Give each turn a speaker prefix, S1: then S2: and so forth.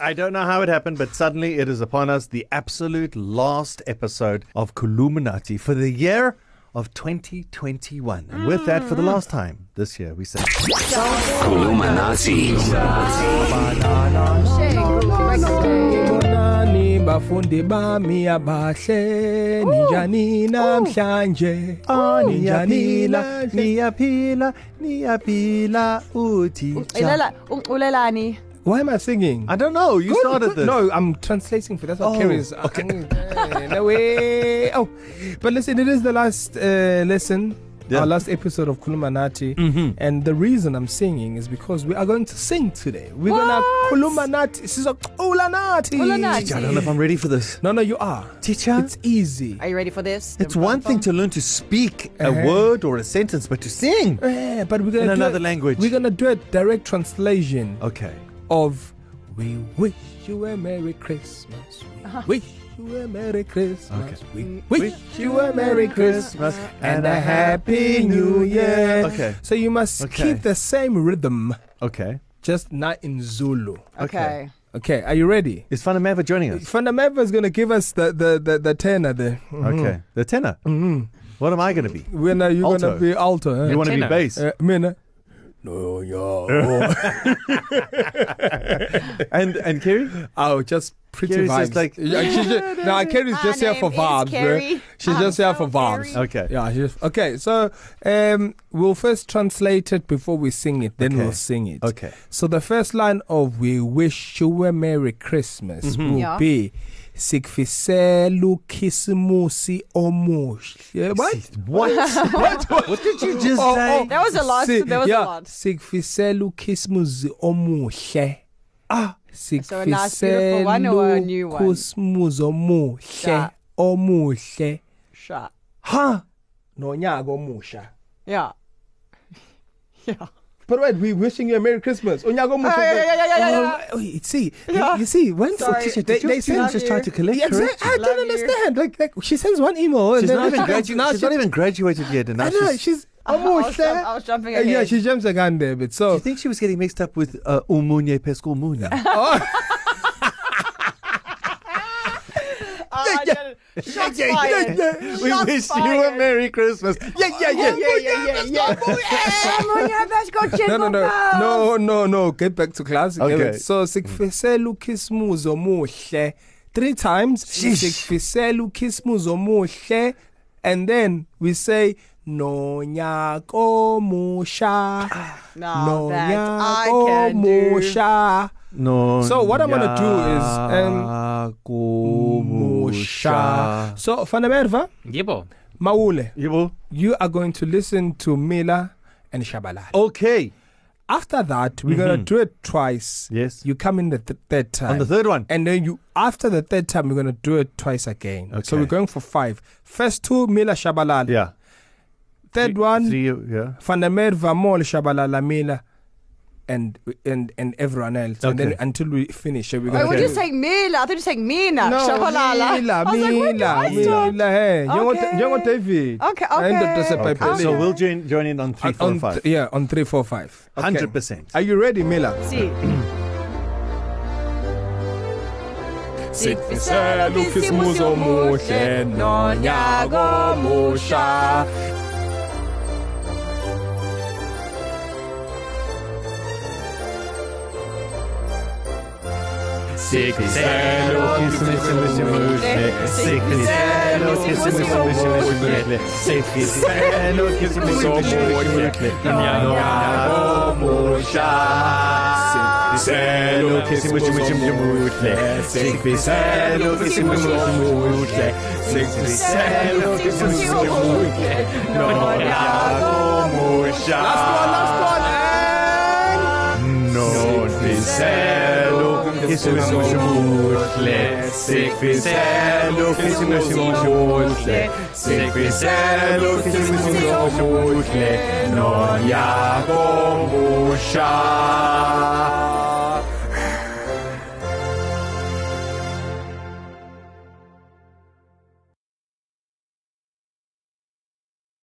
S1: I don't know how it happened, but suddenly it is upon us the absolute last episode of Columinati for the year of 2021. And with that, for the last time this year, we say.
S2: Columinati.
S3: Nani bafundi bami abahle ninjani namhlanje
S1: Ah, Niyapila, niyapila, niyapila, utitsha.
S4: Ulela, ulelani.
S3: Why am I singing?
S1: I don't know. You started this.
S3: No, I'm translating for that's what
S1: Oh,
S3: carries. Okay. no way. Oh, but listen, it is the last uh, lesson.
S1: Yeah.
S3: Yeah. Our last episode of Kulumanati, mm-hmm. and the reason I'm singing is because we are going to sing today. We're
S4: What?
S3: gonna Kulumanati. This is a Kulanati.
S4: Kulanati.
S1: I don't know if I'm ready for this.
S3: No, no, you are.
S1: Teacher?
S3: It's easy.
S4: Are you ready for this?
S1: It's one thing to learn to speak a
S3: Uh-huh.
S1: word or a sentence, but to sing.
S3: Yeah, Eh, but we're gonna
S1: In
S3: do
S1: another
S3: it,
S1: language.
S3: We're gonna do a direct translation
S1: Okay.
S3: of "We wish you a Merry Christmas." We uh-huh. wish you a Merry Christmas.
S1: Okay.
S3: Okay. We wish you a Merry Christmas and a Happy New Year.
S1: Okay.
S3: So you must
S1: Okay.
S3: okay. keep the same rhythm,
S1: Okay.
S3: just not in Zulu.
S4: Okay.
S3: Okay. Are you ready?
S1: Is Fanameva joining us?
S3: Fundameva is gonna give us the the the, the tenor there.
S1: Okay. The tenor. Mm-hmm. What am I going to be?
S3: When are you
S1: Alto.
S3: gonna be alto? Huh?
S1: You want to be
S5: tenor.
S1: bass?
S3: Uh, Mina. No, yo.
S1: And and Kerry?
S3: Oh, just pretty
S1: Carrie's
S3: vibes.
S1: just like,
S3: yeah, she's just, no, Carrie's
S4: My
S3: just here for
S4: name is
S3: vibes,
S4: Carrie.
S3: bro. She's
S4: I'm
S3: just
S4: so
S3: here for vibes.
S4: Carrie.
S1: Okay.
S3: Yeah, she's, okay. So um, we'll first translate it before we sing it. Then
S1: Okay.
S3: okay. we'll sing it.
S1: Okay.
S3: So the first line of "We wish you a Merry Christmas" mm-hmm. will
S4: Yeah.
S3: yeah. be "Sikfiselu Kismusi Omush." Yeah, what?
S1: What? what? What did you just
S3: Oh,
S1: say?
S3: oh,
S4: That was a lot.
S3: si-
S4: That was a
S3: yeah,
S4: lot.
S3: Sikfiselu Kismusi Omush.
S1: Ah,
S4: So a nice, beautiful one or a new one?
S3: Sikfiselu Kismusi Omush.
S4: Yeah.
S3: Omush.
S4: Shut.
S1: huh?
S3: nonyaka omusha
S4: Yeah. Yeah.
S3: but wait we wishing you a merry christmas unyaka omusha
S4: Yeah, yeah, yeah, yeah, yeah, yeah.
S3: Oh, wait, wait, see
S4: Yeah.
S3: you, you see when
S4: Sorry,
S3: teacher,
S4: they-
S3: did your
S4: they send
S3: students just
S4: you-
S3: try to collect yeah, exactly, I
S4: Love
S3: don't
S4: you.
S3: understand like, like she sends one email
S1: She's
S3: and
S1: not
S3: then
S1: even
S3: she
S1: graduated. She's
S3: comes- she,
S1: not even graduated yet, and now
S3: I know
S1: she's.
S3: she's
S4: I was,
S3: omusha
S4: jump, I was jumping
S3: Uh,
S4: again.
S3: yeah she jumps again there but
S1: Do you
S3: so
S1: think she was getting mixed up with uh, Umunye Pesco Muna?
S4: Oh, yeah, yeah. Shots yeah, fired. Yeah, yeah.
S1: We
S4: Shots
S1: wish you a
S4: fired.
S1: Merry Christmas. Yeah, yeah, yeah.
S4: yeah, yeah, yeah, yeah.
S3: no no no no no no get back to class
S1: Okay.
S3: Get back- so sikufisela ukhisimuzi omuhle three times
S1: Sheesh.
S3: sikufisela ukhisimuzi omuhle and then we say nonyaka omusha
S4: No, no that I
S3: nonyaka
S4: can do.
S3: omusha
S1: No.
S3: So what I'm gonna do is, um,
S1: Musha.
S3: musha so fanamerva
S5: Yebo.
S3: mawule
S1: Yebo.
S3: you are going to listen to Mila and Shabalala
S1: Oh. Okay.
S3: after that we're mm-hmm. going to do it twice
S1: Yes.
S3: you come in the th- third time
S1: On the third one.
S3: and then you after the third time we're going to do it twice again okay. so
S1: Okay.
S3: we're going for five first two Mila Shabalala
S1: Yeah.
S3: third one
S1: Three, yeah.
S3: Fandamed Vamol Shabalala Mila and and and everyone else okay. and
S1: Okay.
S3: then until we finish so we're
S4: Wait,
S3: going
S4: were
S3: to
S4: you saying Mila? I thought you were saying Mina.
S3: no,
S4: Shabalala.
S3: Mila,
S4: I was like, where do
S3: Mila,
S4: I
S3: Mila,
S4: start?
S3: Mila, hey,
S4: Okay.
S3: okay. Jongo David.
S4: Okay, okay.
S3: And Dr. Sepai
S1: Okay.
S3: Pele.
S1: So we'll join join in on three,
S3: on
S1: four,
S3: th-
S1: five.
S3: Yeah, on 345.
S1: Hundred percent.
S3: Are you ready, Mila?
S4: See.
S3: sikufisela ukhisimuso omuhle nonyaka omusha
S5: Sikufisela ukhisimusi omuhle.
S4: Sikufisela ukhisimusi
S5: omuhle.
S1: Sikufisela ukhisimusi
S5: omuhle. Nonyaka
S1: omusha. Sikufisela
S5: ukhisimusi
S1: omuhle. Sikufisela
S4: ukhisimusi
S1: omuhle.
S4: Sikufisela ukhisimusi omuhle.
S1: Nonyaka omusha. Nordicelo, que se nos mutle, Sigfridselo, que se nos mutle, Sigfridselo, que se nos mutle, non jago musha.